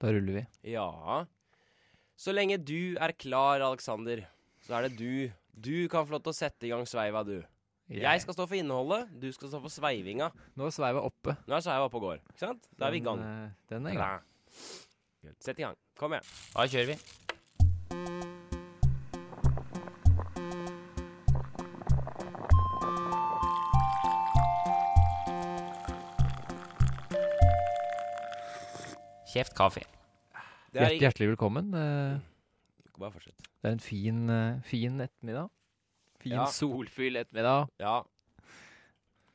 Da ruller vi. Ja. Så lenge du er klar, Alexander, så er det du. Du kan få lov til å sette i gang sveiva, du. Jeg skal stå for innholdet, du skal stå for sveivinga. Nå er sveiva oppe. Nå er sveiva oppe og går. Ikke sant? Da er vi i gang. Den, eh, Den er i gang. Sett i gang. Kom igjen. Da kjører vi. Kjeft kaffe. Det er Hjert, hjertelig velkommen. Eh, Bare fortsett. Det er en fin, eh, fin ettermiddag. Fin Ja. solfyll ettermiddag. Ja.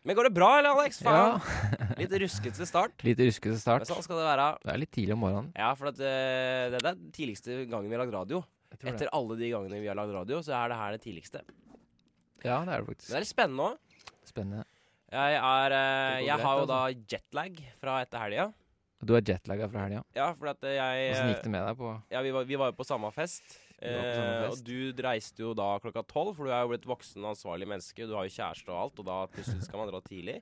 Men går det bra, eller, Alex? Faen. Ja. Litt ruskete start. Litt ruskete Men start. sånn skal det være. Det er litt tidlig om morgenen. Ja, for at, eh, det er den tidligste gangen vi har lagd radio. Jeg tror det. Etter alle de gangene vi har lagd radio, så er det her det tidligste. Men Ja, det er det det faktisk. er litt spennende òg. Spennende. Jeg, er, eh, Det går jeg greit, har jo altså. da jetlag fra etter helga. Du er jetlagga fra helga. Ja, for at eh, jeg Åssen eh, gikk det med deg på ja, vi, var, vi var jo på samme fest. Vi var på samme Eh, og fest. du reiste jo da klokka tolv, for du er jo blitt voksen og ansvarlig menneske. Du har jo kjæreste og alt, og da plutselig skal man dra tidlig.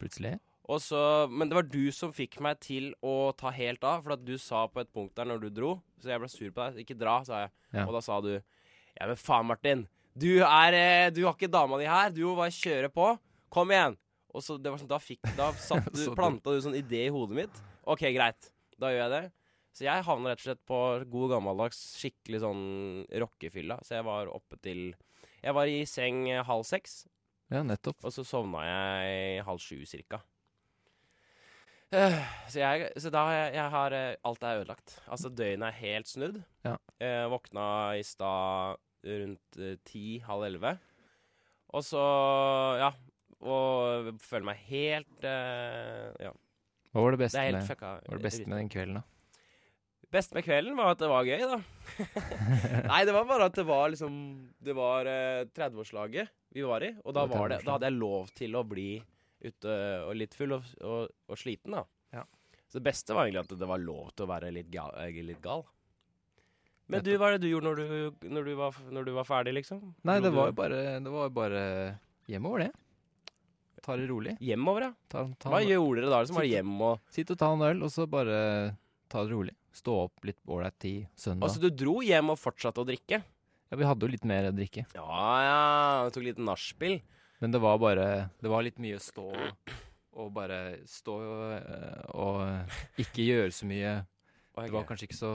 plutselig? Og så, men det var du som fikk meg til å ta helt av, for at du sa på et punkt der når du dro Så jeg ble sur på deg. 'Ikke dra', sa jeg. Ja. Og da sa du 'Ja, men faen, Martin. Du, er, eh, du har ikke dama di her. Du må bare kjøre på. Kom igjen.' Og så det var sånn, Da fikk Da satt Så du, du- planta du sånn idé i hodet mitt. 'Ok, greit. Da gjør jeg det.' Så jeg havna rett og slett på god gammeldags skikkelig sånn rockefylla. Så jeg var oppe til Jeg var i seng eh, halv seks. Ja, nettopp. Og så sovna jeg halv sju cirka. Eh, Så, jeg, så da har jeg, jeg har eh, Alt er ødelagt. Altså, døgnet er helt snudd. Ja. Eh, våkna i stad rundt eh, ti, halv elleve. Og så Ja. Og føler meg helt eh, Ja. Hva var det Det beste, er helt med, fucka. hva var det beste med den kvelden, da? Beste med kvelden var at det var gøy, da. Nei, det var bare at det var liksom Det var eh, 30-årslaget vi var i, og da, Det var var det, 30-årslaget. da hadde jeg lov til å bli ute og litt full og, og, og sliten, da. Ja. Så det beste var egentlig at det var lov til å være litt gal. eh, Litt gal. Men du, Nettopp. hva er det du gjorde når du, når du, var, når du var ferdig, liksom? Nei, det Dro du var jo bare, det var jo bare hjemover, det. Ta det rolig. Hjemover, ja. Ta, ta Hva gjorde dere da? Liksom, var det hjem og Sitt og ta en øl, og så bare ta det rolig. Stå opp litt ålreit tid søndag. Altså, du dro hjem og fortsatte å drikke? ja, vi hadde jo litt mer å drikke, Ja ja, du tok litt nachspiel. men det var bare Det var litt mye å stå Mm. og bare stå øh, og ikke gjøre så mye. Det var kanskje ikke så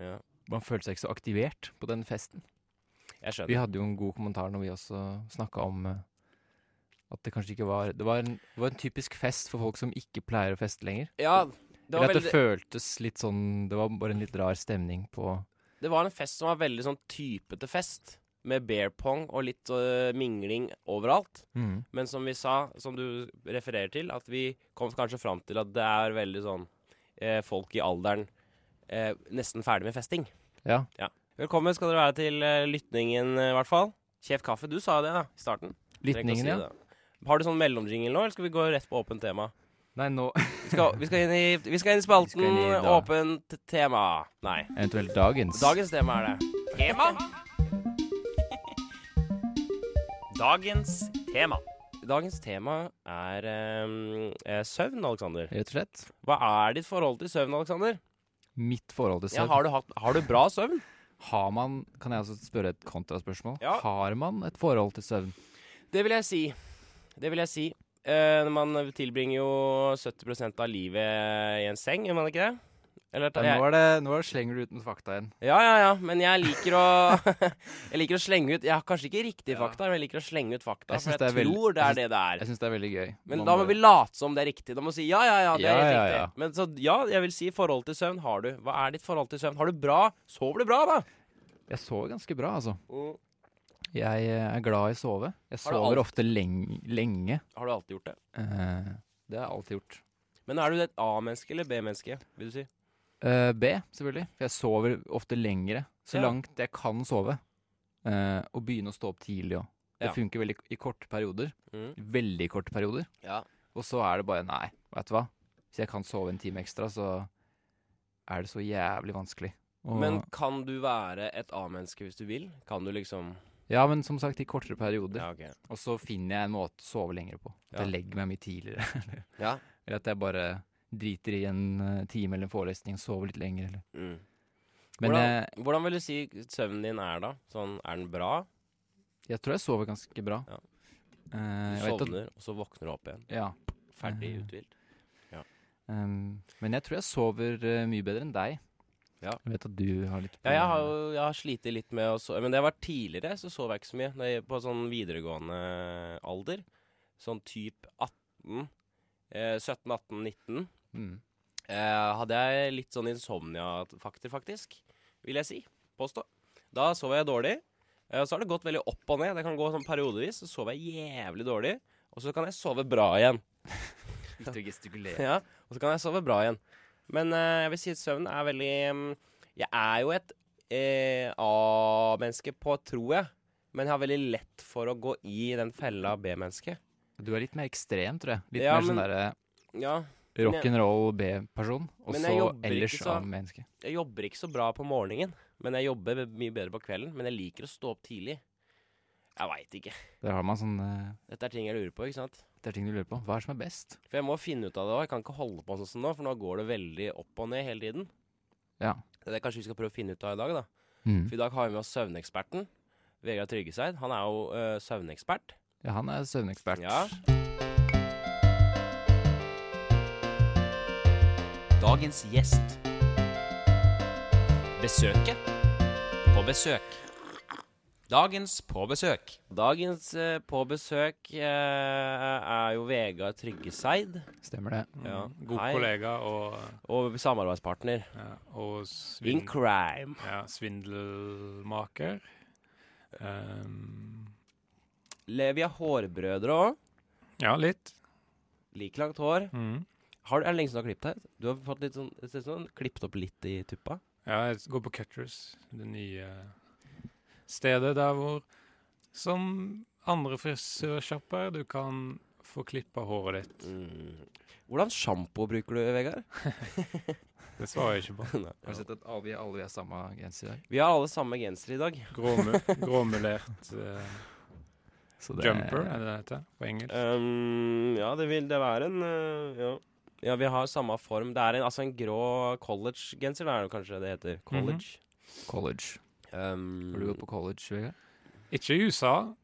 Ja, Man følte seg ikke så aktivert på den festen. jeg skjønner. Vi hadde jo en god kommentar når vi også snakka om eh, at det kanskje ikke var det var, en, det var en typisk fest for folk som ikke pleier å feste lenger. Ja, det var Eller at veldig det føltes litt sånn Det var bare en litt rar stemning på Det var en fest som var veldig sånn typete fest. Med bear pong og litt øh, mingling overalt. Men som vi sa, som du refererer til, at vi kom kanskje fram til at det er veldig sånn eh, folk i alderen eh, nesten ferdig med festing. Ja. Velkommen skal dere være til eh, lytningen, eh, i hvert fall. Kjef kaffe, du sa jo det da, i starten. Trenger ikke å Lytningen, ja. si det. Har du sånn mellomjingle nå, eller skal vi gå rett på åpent tema? Nei, nå Vi skal, vi skal, inn, i, vi skal inn i Vi skal spalten inn i da- åpent tema. Nei. Eventuelt dagens. Dagens tema er det. Tema? Dagens tema. Dagens tema er ehm, eh, søvn, Alexander. Rett og slett. Hva er ditt forhold til søvn, Alexander? Mitt forhold til Ja, søvn. har, du hatt, har du bra søvn? Har man Kan jeg også spørre et kontraspørsmål? Ja. Har man et forhold til søvn? Det vil jeg si. Det vil jeg si. Eh, man tilbringer jo 70 av livet i en seng, gjør man ikke det? Eller tar nå, jeg er det, nå er det slenger du ut noen fakta igjen. Ja, ja, ja, men jeg liker å Jeg liker å slenge ut Jeg har kanskje ikke riktige Ja. fakta, men jeg liker å slenge ut fakta. Jeg For synes jeg det er veldig- tror det jeg er det det er. Jeg syns det er veldig gøy. Men Man da må bare- vi late som det er riktig. Da må vi si ja, ja, ja. det er Ja, helt ja, riktig. ja. Men så, ja, jeg vil si forhold til søvn har du. Hva er ditt forhold til søvn? Har du bra? Sover du bra, da? Jeg sover ganske bra, altså. Mm. Jeg eh, er glad i å sove. Jeg Har du sover alt- ofte leng lenge. Har du alltid gjort det? Eh, det har jeg alltid gjort. Men er du et A-menneske eller B-menneske, vil du si? Eh, B, selvfølgelig. For jeg sover ofte lengre. Så Ja. langt jeg kan sove. Eh, og begynne å stå opp tidlig òg. Det Ja. funker veldig i korte perioder. Mm. Veldig korte perioder. Ja. Og så er det bare Nei, vet du hva? Hvis jeg kan sove en time ekstra, så er det så jævlig vanskelig. Og, Men kan du være et A-menneske hvis du vil? Kan du liksom ja, men som sagt, i kortere perioder. Ja, ok. Og så finner jeg en måte å sove lenger på. At Ja. jeg legger meg mye tidligere. Ja. Eller at jeg bare driter i en eh, time eller en forelesning, sover litt lenger eller Mm. Men hvordan, jeg, hvordan vil du si søvnen din er, da? Sånn, Er den bra? jeg tror jeg sover ganske bra. Ja. Du Eh, jeg vet at- sovner, og så våkner du opp igjen. ja. Ferdig Eh. uthvilt. Um, men jeg tror jeg sover eh, mye bedre enn deg. Ja. Jeg vet at du har litt Ja, jeg har jo jeg har slitt litt med å sove. Men det var tidligere, så sov jeg ikke så mye. Når jeg, på sånn videregående eh, alder, sånn type 18, eh, 17, 18, 19, Mm. eh, hadde jeg litt sånn insomnia-fakter, faktisk. Vil jeg si. Påstå. Da sov jeg dårlig. Eh, så har det gått veldig opp og ned. Det kan gå sånn periodevis. Så sover jeg jævlig dårlig. Og så kan jeg sove bra igjen. Ikke gestikulere. Ja, og så kan jeg sove bra igjen. Men eh, jeg vil si at søvn er veldig mm, Jeg er jo et eh, A-menneske på, tror jeg. Men jeg har veldig lett for å gå i den fella B-menneske. Du er litt mer ekstrem, tror jeg. Litt Ja, mer sånn men- derre Ja, rock'n'roll B-person, og Men så jeg jobber ikke ellers så- av menneske. jeg jobber ikke så bra på morgenen. Men jeg jobber mye bedre på kvelden. Men jeg liker å stå opp tidlig. Jeg veit ikke. Der har man sånn eh, Dette er ting jeg lurer på, ikke sant? Det er ting du lurer på. Hva er det som er best? For jeg må finne ut av det òg. Jeg kan ikke holde på sånn som nå, for nå går det veldig opp og ned hele tiden. Ja. Det er kanskje vi skal prøve å finne ut av i dag, da. Mm. For i dag har vi med oss søvneksperten. Vegard Tryggeseid. Han er jo eh, søvnekspert. ja han er søvnekspert. Ja. Dagens gjest. Besøket på besøk. Dagens på besøk. Dagens eh, på besøk eh, er jo Vegard Tryggeseid. Stemmer det. Ja. Mm. God Hei. kollega og, Og samarbeidspartner. ja, og In Mm. svin, crime. ja, svindelmaker. Ehm, Le, vi er hårbrødre òg. ja, litt. Like langt hår. Mm. Har du, er det lenge siden du har klippet deg? Du har fått litt sånn, det ser ut som du har klippet opp litt i tuppa. Ja, jeg går på Cutters, det nye stedet der hvor Som andre frisørsjapper, du kan få klippa håret ditt. Mm. Hvordan sjampo bruker du, Vegard? Det svarer jeg ikke på. Har du sett at alle, vi alle vi har samme genser i dag? Vi har alle samme genser i dag. Gråmu, gråmulert eh, Så det- jumper, er det det heter på engelsk. Ehm, ja, det vil det være en øh, ja. ja, vi har samme form. Det er en, altså en grå college-genser, det er det kanskje det heter. College. College. Mhm. Ehm, Har du gått på college, Vegard? Ikke i USA,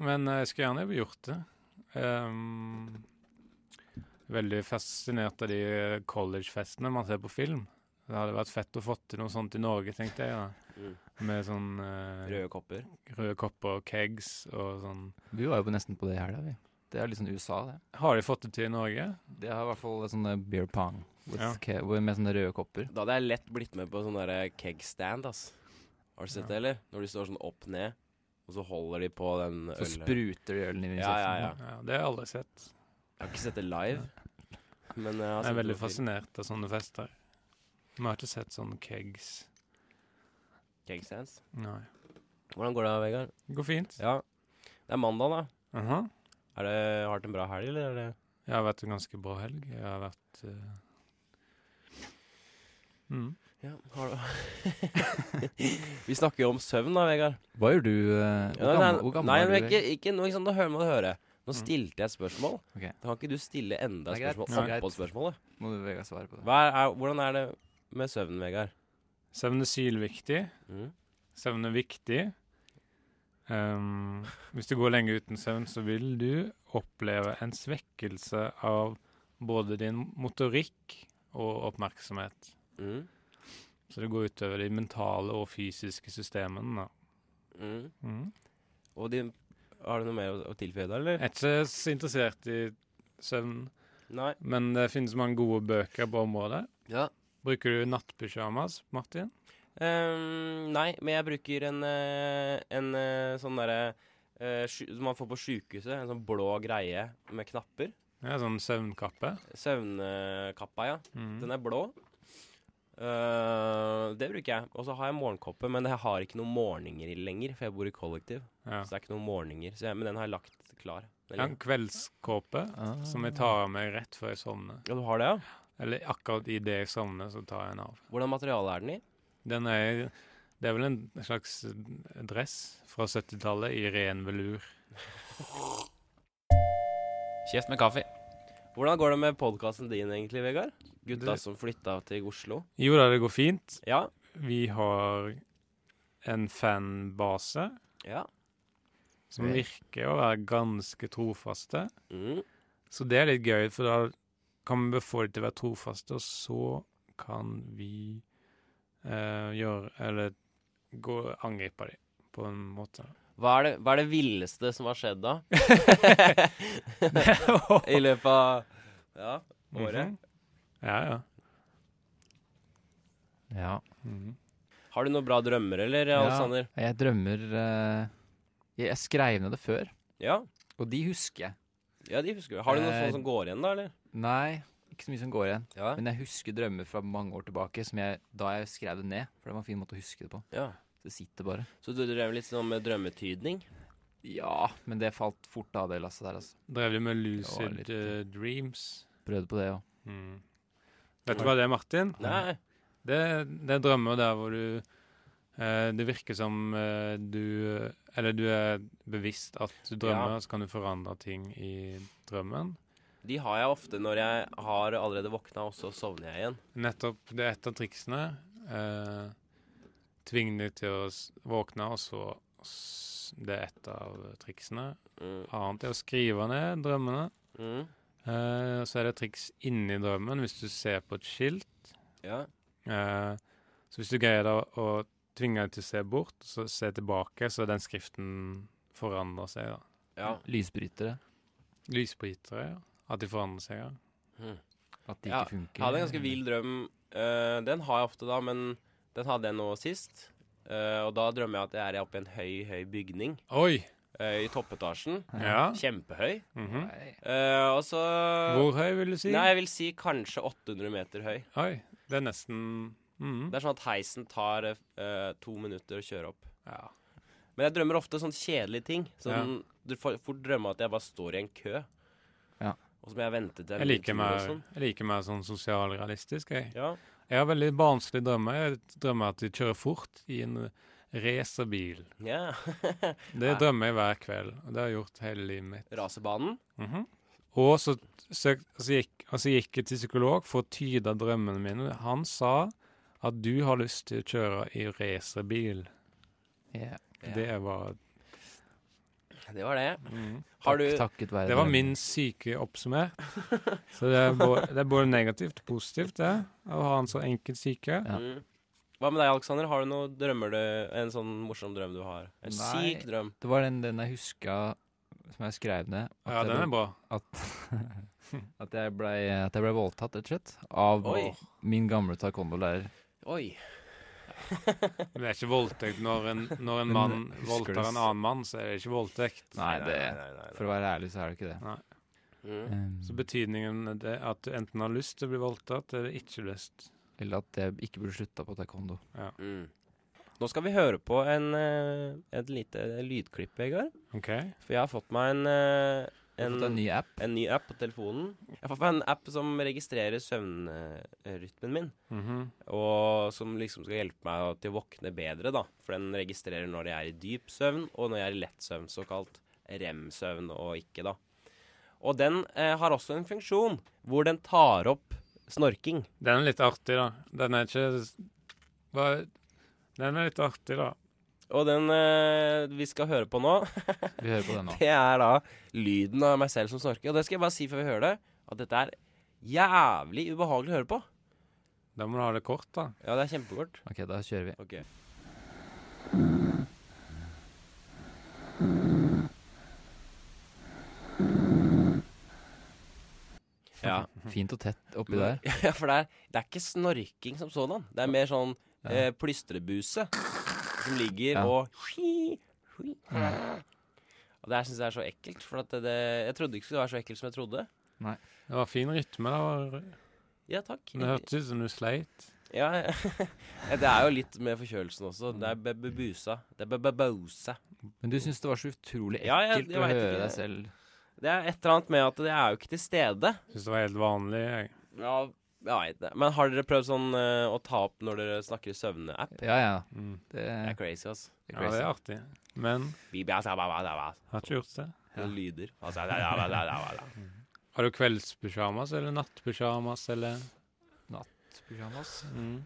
men jeg skulle gjerne gjort det. Ehm, veldig fascinert av de collegefestene man ser på film. Det hadde vært fett å få til noe sånt i Norge, tenkte jeg. da. Mm. Med sånn eh, Røde kopper. røde kopper og kegs og sånn. Vi var jo på- nesten på det i helga, vi. Det er litt sånn USA, det. Har de fått det til i Norge? Det har i hvert fall sånne beer pong with Ja. ca- med sånne røde kopper. Da hadde jeg lett blitt med på sånn derre keg-stand, ass. Har du sett Ja. det, eller? Når de står sånn opp ned, og så holder de på den Så ølen. spruter de ølen inn i Ja, ja, kjeften. ja. Ja, det har jeg aldri sett. Jeg har ikke sett det live, men eh, altså, jeg har sett Jeg er det veldig på film. fascinert av sånne fester. Men jeg har ikke sett sånne kegs. Keg-stands. Nei. Hvordan går det, Vegard? Det går fint. Ja. Det er mandag, da. Aha. Er det, har du hatt en bra helg, eller? Er det Jeg har vært en ganske bra helg. Jeg har vært eh, mm. Ja, har du Vi snakker jo om søvn da, Vegard. Hva gjør du? eh, Hvor Ja, gammel, hvor gammel nei, er du? men ikke, ikke noe ikke sånn, da hører man det høre. Nå Mm. stilte jeg et spørsmål. Ok. Da kan ikke du stille enda et Det er greit, spørsmål det er oppå spørsmålet. Vegard? Må du Vegard svare på det? Hva er, er, hvordan er det med søvnen, Vegard? Søvn er sylviktig. Mm. Søvn er viktig. Ehm, hvis du går lenge uten søvn, så vil du oppleve en svekkelse av både din motorikk og oppmerksomhet. Mm. Så det går utover de mentale og fysiske systemene. da. Mm. Mm. Og din, har du noe mer å, å tilføye Eh. der, Jeg eller? er ikke så interessert i søvn, Nei. men det finnes mange gode bøker på området. Ja. Bruker du nattpysjamas, Martin? Ehm, nei, men jeg bruker en, eh, en eh, sånn derre eh, sju- som man får på sjukehuset. En sånn blå greie med knapper. Ja, sånn søvnkappe. Søvnkappa, ja. Mm. Den er blå. Eh, det bruker jeg. Og så har jeg morgenkoppe, men jeg har ikke noen morgener i lenger, for jeg bor i kollektiv. Ja. Så det er ikke noen morgener. Så jeg, men den har jeg lagt klar. Jeg har en Eller, kveldskåpe Ah. som jeg tar av meg rett før jeg sovner. ja, du har det, ja? Eller akkurat idet jeg sovner, så tar jeg den av. Hvordan materiale er den i? Den er, det er vel en slags dress fra 70-tallet i ren velur. Kjeft med kaffe. Hvordan går det med podkasten din egentlig, Vegard? Gutta Det- som flytta til Oslo. Jo da, det går fint. Ja. Vi har en fanbase ja. som virker å være ganske trofaste. Mm. Så det er litt gøy, for da kan vi få de til å være trofaste, og så kan vi eh, gjøre Eller gå angripe dem på en måte. Hva, er det, hva er det villeste som har skjedd da? I løpet av Ja. Året? Mhm. Ja, ja. Ja. Mhm. Har du noen bra drømmer, eller, Ja. Alexander? Jeg drømmer eh, Jeg jeg skrev ned det før, Ja. og de husker jeg. ja, de husker vi. Har du noen Eh, sånne som går igjen, da, eller? Nei, ikke så mye som går igjen. Ja. Men jeg husker drømmer fra mange år tilbake som jeg, da jeg skrev det ned. For det var en fin måte å huske det på. ja. Det sitter bare. Så du drev litt sånn med drømmetydning? Ja, men det falt fort av det lasset der, altså. Drev de med lucid litt- eh, dreams? Prøvde på det òg. Mhm. Vet du hva det er, Martin? Nei. Det, det er drømmer der hvor du eh, Det virker som eh, du Eller du er bevisst at du drømmer, Ja. og så kan du forandre ting i drømmen. De har jeg ofte når jeg har allerede våkna, og så sovner jeg igjen. Nettopp. Det er et av triksene. Eh, Tving deg til å s- våkne, og så s- Det er et av triksene. Mm. Annet er å skrive ned drømmene. Mm. Eh, så er det et triks inni drømmen hvis du ser på et skilt. Ja. Eh, så hvis du greier da å tvinge deg til å se bort, så se tilbake, så den skriften forandrer seg, da. ja. Lysbrytere. Lysbrytere, ja. At de forandrer seg, ja. Mm. At de Ja, ikke funker. Jeg hadde en ganske vill drøm. eh, den har jeg ofte, da, men den hadde jeg nå sist. Eh, og da drømmer jeg at jeg er oppe i en høy, høy bygning Oi! eh, i toppetasjen. Ja. Kjempehøy. mhm. Nei. Eh, og så Hvor høy vil du si? Nei, jeg vil si kanskje 800 meter høy. Oi, det er nesten mhm. Det er sånn at heisen tar eh, to minutter å kjøre opp. ja. Men jeg drømmer ofte sånne kjedelige ting. Sånn, Du får fort drømme at jeg bare står i en kø. Ja. Og så må jeg vente til en Jeg liker time mer, og sånn. jeg liker mer sånn sosialrealistisk, jeg. Ja. Jeg har veldig barnslig drømmer. Jeg drømmer at de kjører fort i en racerbil. ja. Det drømmer jeg hver kveld, og det har jeg gjort hele livet mitt. Rasebanen. Mhm. Og så, søk, så, gikk, og så gikk jeg til psykolog for å tyde drømmene mine. Han sa at du har lyst til å kjøre i racerbil. Ja. Ja. Det, var- Det var det. mhm. Har du Takket være det var drømmen. min syke oppsummert. Så det er, både, det er både negativt og positivt, det, å ha en så enkel syke. Ja. Mm. Hva med deg, Alexander? Har du noen drømmer du En sånn morsom drøm du har? Nei. En syk drøm. Det var den, den jeg huska som jeg skrev ned. at Ja, jeg den ble- er bra. At jeg blei ble voldtatt, rett og slett, av Oi. min gamle taekwondo-lærer. Oi. Men det er ikke voldtekt når en, når en Men mann husker du voldtar s- en annen mann, så er det ikke voldtekt. Nei, det, nei, nei, nei. for å være ærlig, så er det ikke det. Mm. Um, Så betydningen er det at du enten har lyst til å bli voldtatt, eller ikke lyst. eller at jeg ikke burde slutta på taekwondo. Mm. Nå skal vi høre på en, eh, et lite lydklipp, Vegard. OK? For jeg har fått meg en, eh, Jeg har fått en ny app. en ny app på telefonen. Jeg har fått meg en app som registrerer søvnrytmen min. Mhm. Og som liksom skal hjelpe meg til å våkne bedre, da. For den registrerer når jeg er i dyp søvn, og når jeg er i lett søvn. Såkalt rem-søvn og ikke, da. Og den eh, har også en funksjon hvor den tar opp snorking. Den er litt artig, da. Den er ikke hva, Den er litt artig, da. Og den eh, vi skal høre på nå, Vi hører på den nå. det er da lyden av meg selv som snorker. Og det skal jeg bare si før vi hører det, at dette er jævlig ubehagelig å høre på. Da må du ha det kort, da. Ja, det er kjempekort. Ok, da kjører vi. Ok. Ja. Fint og tett oppi Men- der. ja, for det er, det er ikke snorking som sådan. Det er mer sånn eh, plystrebuse som ligger Ja. og hui, hui. Og det her syns jeg er så ekkelt, for at det, det, jeg trodde ikke det skulle være så ekkelt som jeg trodde. Det var fin rytme, da. Ja, takk. Men det hørtes ut som du sleit. Ja, ja, det er jo litt med forkjølelsen også. Det er bebusa. Det er bebausa. Men du syns det var så utrolig Mm. Ja, jeg- ekkelt jeg å vet høre ikke. deg selv. Det er et eller annet med at det er jo ikke til stede. Syns det var helt vanlig. Jeg. Ja, jeg vet det. Men har dere prøvd sånn eh, å ta opp når dere snakker i søvne-app? Ja, ja. Mm. Det, Det er crazy, ass. det er Ja, det crazy. er artig. Men Bi- bi- ba- ba- ba- ba- ba. har ikke gjort det. Det lyder. Altså, ja, ja, ja, ja, ja, ja, ja. Har du kveldspysjamas eller nattpysjamas eller Pyjamas. mm.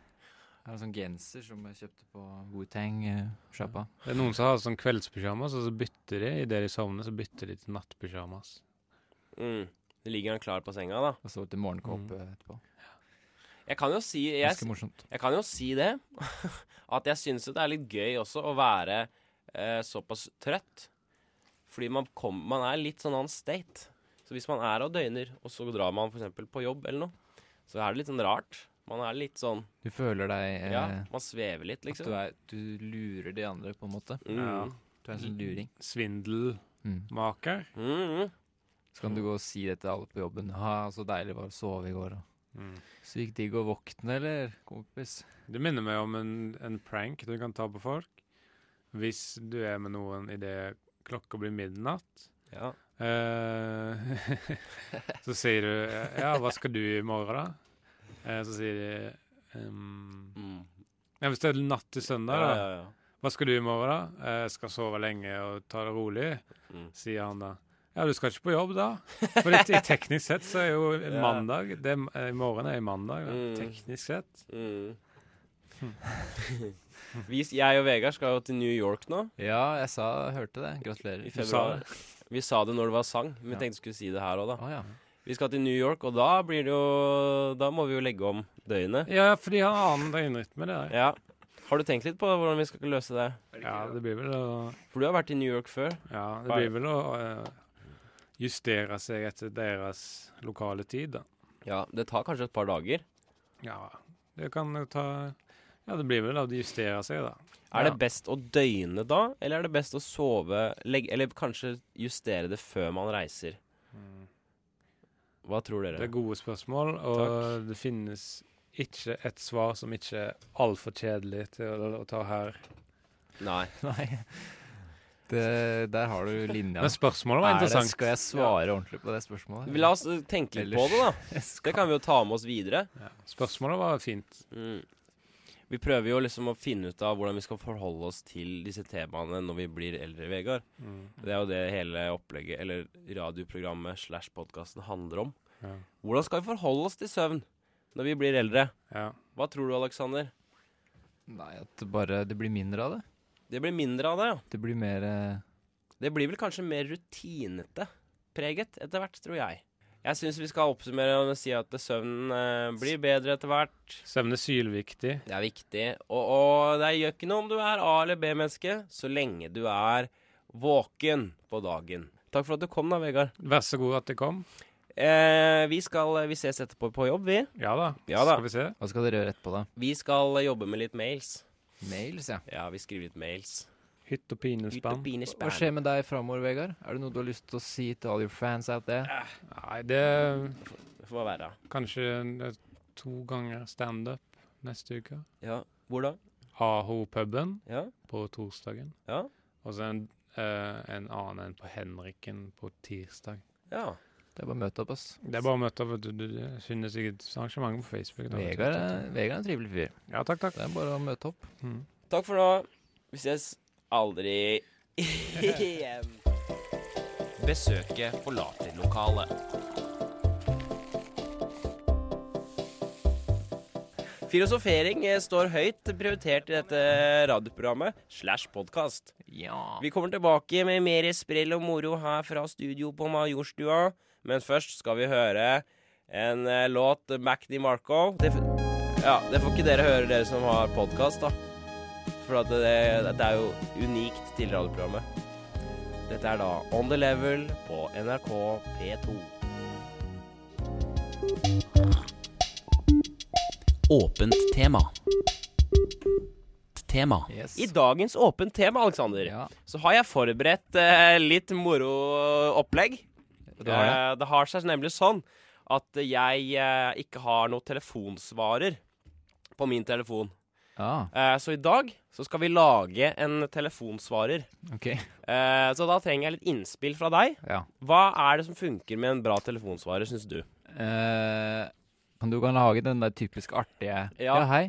Her er en sånn genser som jeg kjøpte på eh, Wutang-sjappa. Mm. Det er noen som har sånn kveldspysjamas, og så bytter de idet de sovner, så bytter de til nattpysjamas. Mm. Det ligger han klar på senga, da. Og så til morgenkåpe etterpå. Jeg kan jo si, Mm. jeg, Ganske morsomt. jeg kan jo si det, at jeg syns jo det er litt gøy også å være eh, såpass trøtt. Fordi man, kom, man er litt sånn on state. Så hvis man er og døgner, og så drar man f.eks. på jobb eller noe, så er det litt sånn rart. Man er litt sånn Du føler deg eh, Ja, man svever litt, liksom. at du, er, du lurer de andre, på en måte. Mm. Ja. Du er en sånn luring. Svindelmaker. Mm. Mm, mm. Så kan du gå og si det til alle på jobben. Ha, så deilig det var å sove i går. Og. Sykt digg å våkne, eller, kompis? Det minner meg om en, en prank du kan ta på folk. Hvis du er med noen idet klokka blir midnatt, Ja. eh, så sier du Ja, hva skal du i morgen, da? Eh, så sier de ehm, Mm. Ja, hvis det er natt til søndag, ja, da. ja, ja. Hva skal du i morgen, da? Eh, Jeg skal sove lenge og ta det rolig, Mm. sier han da. Ja, du skal ikke på jobb da? For i i teknisk sett så er jo Ja. mandag det, er- eh, I morgen er i mandag, da. Mm. teknisk sett. Mm. Vi, jeg og Vegard skal jo til New York nå. Ja, jeg sa, hørte det. I Gratulerer. Du sa februar. Vi sa det når det var sang, men vi Ja. tenkte vi skulle si det her òg, da. Å ja. Vi skal til New York, og da blir det jo Da må vi jo legge om døgnet. Ja, fordi han har annen døgnrytme der. Ja. Har du tenkt litt på hvordan vi skal løse det? Ja, det blir vel å, For du har vært i New York før. ja, det blir vel å eh, justere seg etter deres lokale tid, da. Ja, Det tar kanskje et par dager. Ja, det kan jo ta Ja, det blir vel å justere seg, da. Er Ja. det best å døgne da, eller er det best å sove legge, Eller kanskje justere det før man reiser? Mm. Hva tror Det dere? er gode spørsmål, og det finnes ikke et svar som ikke er altfor kjedelig til å, å ta her. Nei. Nei. Det, der har du linja. Men spørsmålet var Er det, interessant. skal jeg svare ordentlig på det spørsmålet? La oss eh, tenke litt på Ellers- det, da. Jeg Det skal- kan vi jo ta med oss videre. Ja. Spørsmålet var fint. Mm. Vi prøver jo liksom å finne ut av hvordan vi skal forholde oss til disse temaene når vi blir eldre, Vegard. Mm. Det er jo det hele opplegget, eller radioprogrammet slash podkasten handler om. Ja. Hvordan skal vi forholde oss til søvn når vi blir eldre? Ja. Hva tror du, Aleksander? Nei, at det bare det blir mindre av det. Det blir mindre av det, ja. Det blir mer eh, Det blir vel kanskje mer rutinete preget etter hvert, tror jeg. Jeg syns vi skal oppsummere og si at søvnen eh, blir bedre etter hvert. Søvn er sylviktig. Det er viktig. Og, og det gjør ikke noe om du er A- eller B-menneske, så lenge du er våken på dagen. Takk for at du kom, da, Vegard. Vær så god at det kom. Eh, vi, skal, vi ses etterpå på jobb, vi. Ja da. Ja da. Skal vi se. Hva skal dere gjøre etterpå, da? Vi skal jobbe med litt mails. Mails, ja. Ja, vi skriver litt mails. Hytt Ut og og pinespann. pine Hva spann. skjer med deg framover, Vegard? Er det noe du har lyst til å si til all your fans out there? Nei, det er Det får være. kanskje en- det er to ganger standup neste uke. Ja. Hvor da? AHO-puben Ja. på torsdagen. Ja. Og så en, eh, en annen en på Henriken på tirsdag. ja. Det er bare å møte opp, ass. Det er bare å møte opp. vet Du, du, du finner sikkert arrangementer på Facebook. da, vet du. Vegard er, Vegard er en trivelig fyr. Ja, takk, takk. Det er bare å møte opp. Mm. Takk for nå. Vi ses aldri igjen. Besøket forlater lokalet. Filosofering eh, står høyt prioritert i dette radioprogrammet slash podkast. Ja. Vi kommer tilbake med mer sprell og moro her fra studio på Majorstua. Men først skal vi høre en eh, låt Mac DeMarco. Det, f- ja, det får ikke dere høre, dere som har podkast, da. For at det, det er jo unikt til radioprogrammet. Dette er da On The Level på NRK P2. Åpent tema. Tema. Yes. I dagens åpent tema, Aleksander, Ja, så har jeg forberedt eh, litt moro opplegg. du har det. Eh, det har seg nemlig sånn at jeg eh, ikke har noen telefonsvarer på min telefon. Ja, Eh, så i dag så skal vi lage en telefonsvarer. ok. Eh, så da trenger jeg litt innspill fra deg. Ja. Hva er det som funker med en bra telefonsvarer, syns du? Eh, kan du kan lage den der typisk artige Ja, Ja. hei.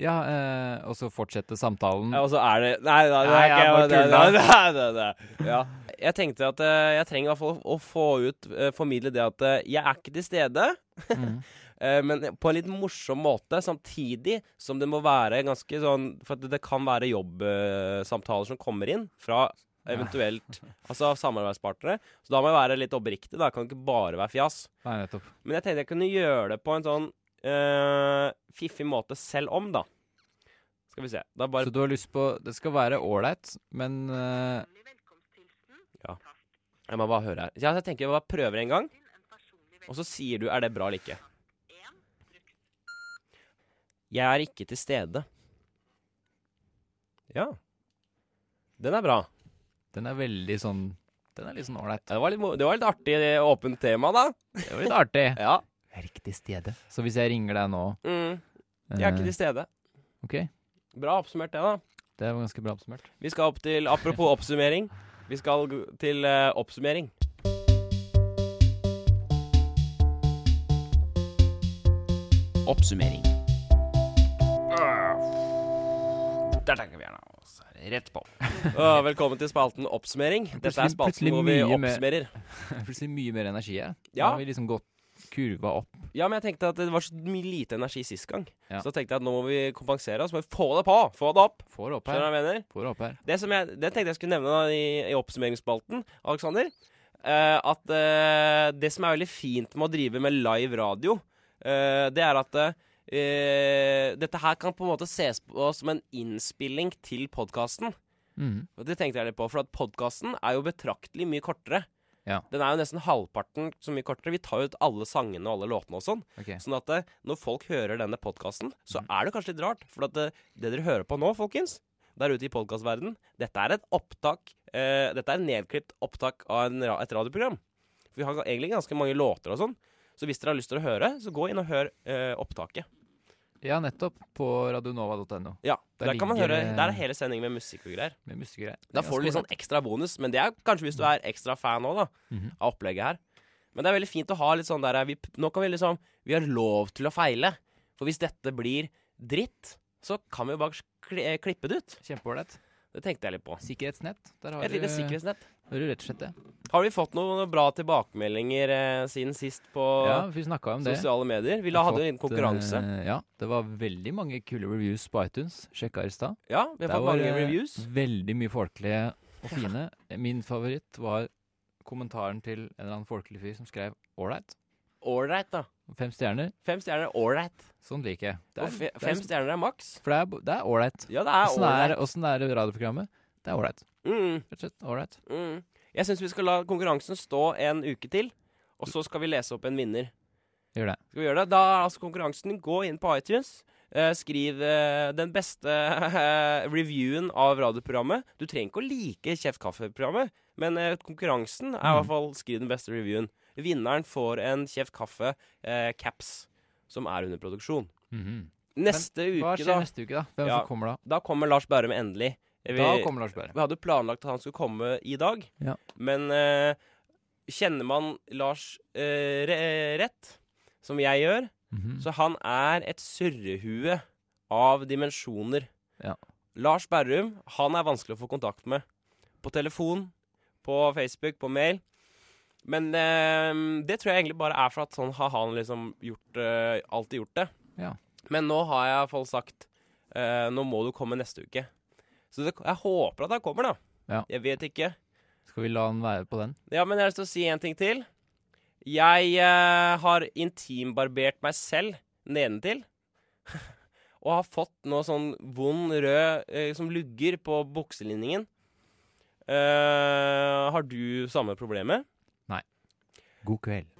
Ja, eh, og så fortsette samtalen. Ja, og så er det Nei, nei, det Nei, er jeg ikke bare det, det, tuller. det, det, det, det. Ja. Jeg tenkte at eh, jeg trenger i hvert fall å få ut, eh, formidle det at eh, jeg er ikke til stede, Mm. eh, men på en litt morsom måte, samtidig som det må være ganske sånn For at det kan være jobbsamtaler som kommer inn fra eventuelt Altså samarbeidspartnere. Så da må jeg være litt oppriktig, da. Jeg kan ikke bare være fjas. Nei, nettopp. Men jeg tenkte jeg kunne gjøre det på en sånn eh, fiffig måte selv om, da. Skal vi se. Da bare Så du har lyst på Det skal være ålreit, men eh, Jeg må bare høre her. Ja, jeg tenker jeg bare prøver en gang. Og så sier du er det bra eller ikke. Jeg er ikke til stede. Ja. Den er bra. den er veldig sånn Den er litt sånn ålreit. Ja, Det var litt, mo- det var litt artig eh, åpent tema, da. Det var litt artig. Ja. Riktig stedet. Så hvis jeg ringer deg nå Mm. eh, Jeg er ikke til stede. Ok, Bra oppsummert, det, da. det var ganske bra oppsummert. Vi skal opp til Apropos oppsummering. Vi skal g- til eh, oppsummering. Oppsummering. Der tenker vi gjerne oss rett på. Å, velkommen til spalten Oppsummering. Dette er Plutselig- spalten plutselig hvor vi mye mer- oppsummerer. Plutselig mye mer energi her. Nå Ja. har vi liksom gått kurva opp. Ja, men jeg tenkte at det var så mye lite energi sist gang. Ja. Så da tenkte jeg at nå må vi kompensere oss. Men få det på! Få det opp! Får opp Skjønner du her. hva jeg mener? Får opp her. Det, som jeg, det tenkte jeg skulle nevne da, i, i oppsummeringsspalten, Aleksander. eh, at eh, det som er veldig fint med å drive med live radio, eh, det er at eh, dette her kan på en måte ses på som en innspilling til podkasten. Mhm. Og Det tenkte jeg litt på, for at podkasten er jo betraktelig mye kortere. Ja. Den er jo nesten halvparten så mye kortere. Vi tar jo ut alle sangene og alle låtene og sånn. Ok. Sånn at eh, når folk hører denne podkasten, så er det kanskje litt rart. For at eh, det dere hører på nå, folkens, der ute i podkastverdenen, dette er et opptak eh, Dette er en nedklipt opptak av en, ra- et radioprogram. For vi har egentlig ganske mange låter og sånn. Så hvis dere har lyst til å høre, så gå inn og hør eh, opptaket. Ja, nettopp. På radionova.no. Ja, Der der, kan man ligger, høre, eh, der er hele sendingen med musikk og greier. Med musikere. Da får du litt sånn ekstra bonus, men det er kanskje hvis du er ekstra fan òg, da. Mhm. Av opplegget her. Men det er veldig fint å ha litt sånn der eh, vi, Nå kan vi liksom Vi har lov til å feile. For hvis dette blir dritt, så kan vi jo bare kli- eh, klippe det ut. sånn Kjempeålreit. Det tenkte jeg litt på. Sikkerhetsnett. Der har Et du, lite sikkerhetsnett. har du rett og slett det. Har vi fått noen bra tilbakemeldinger eh, siden sist på Ja, vi snakka om det. sosiale medier? Vi la- hadde jo en konkurranse. eh, ja, det var veldig mange kule reviews på iTunes. Sjekka i stad. Ja, vi har Der fått var mange det reviews. Veldig mye folkelige og fine. Min favoritt var kommentaren til en eller annen folkelig fyr som skrev 'ålreit'. Ålreit, da. Fem stjerner. Fem stjerner ålreit. Sånn liker jeg. Det Og er, fe- det er, Fem stjerner er maks. for det er bo- det er ålreit. Ja, det er Åssen er, ålreit. åssen er det radioprogrammet? Det er ålreit. Mm. Rett og slett ålreit. Mm. Jeg syns vi skal la konkurransen stå en uke til, og så skal vi lese opp en vinner. Gjør det. Skal vi gjøre det? Da er altså konkurransen gå inn på iTunes. eh, skriv eh, den beste reviewen av radioprogrammet. Du trenger ikke å like Kjeft kaffe-programmet, men eh, konkurransen er i Mm. hvert fall skriv den beste reviewen. Vinneren får en Kjeft kaffe-caps, som er under produksjon. Mhm. Neste Hva uke, skjer da, neste uke, da? Hvem Ja. som kommer da? da kommer Lars Bærum endelig. Vi- Da kommer Lars Berre. vi hadde jo planlagt at han skulle komme i dag, Ja. men eh, kjenner man Lars eh, re rett, som jeg gjør, Mhm. så han er et surrehue av dimensjoner. Ja. Lars Berrum, han er vanskelig å få kontakt med. På telefon, på Facebook, på mail. Men eh, det tror jeg egentlig bare er for at sånn har han liksom gjort, eh, alltid gjort det. Ja. Men nå har jeg i hvert fall sagt eh, nå må du komme neste uke. Så det, jeg håper at han kommer, da. Ja. Jeg vet ikke. Skal vi la han være på den? Ja, men jeg har lyst til å si en ting til. Jeg eh, har intimbarbert meg selv nedentil. og har fått noe sånn vond rød eh, som lugger på bukselinningen. Eh, har du samme problemet? God kveld.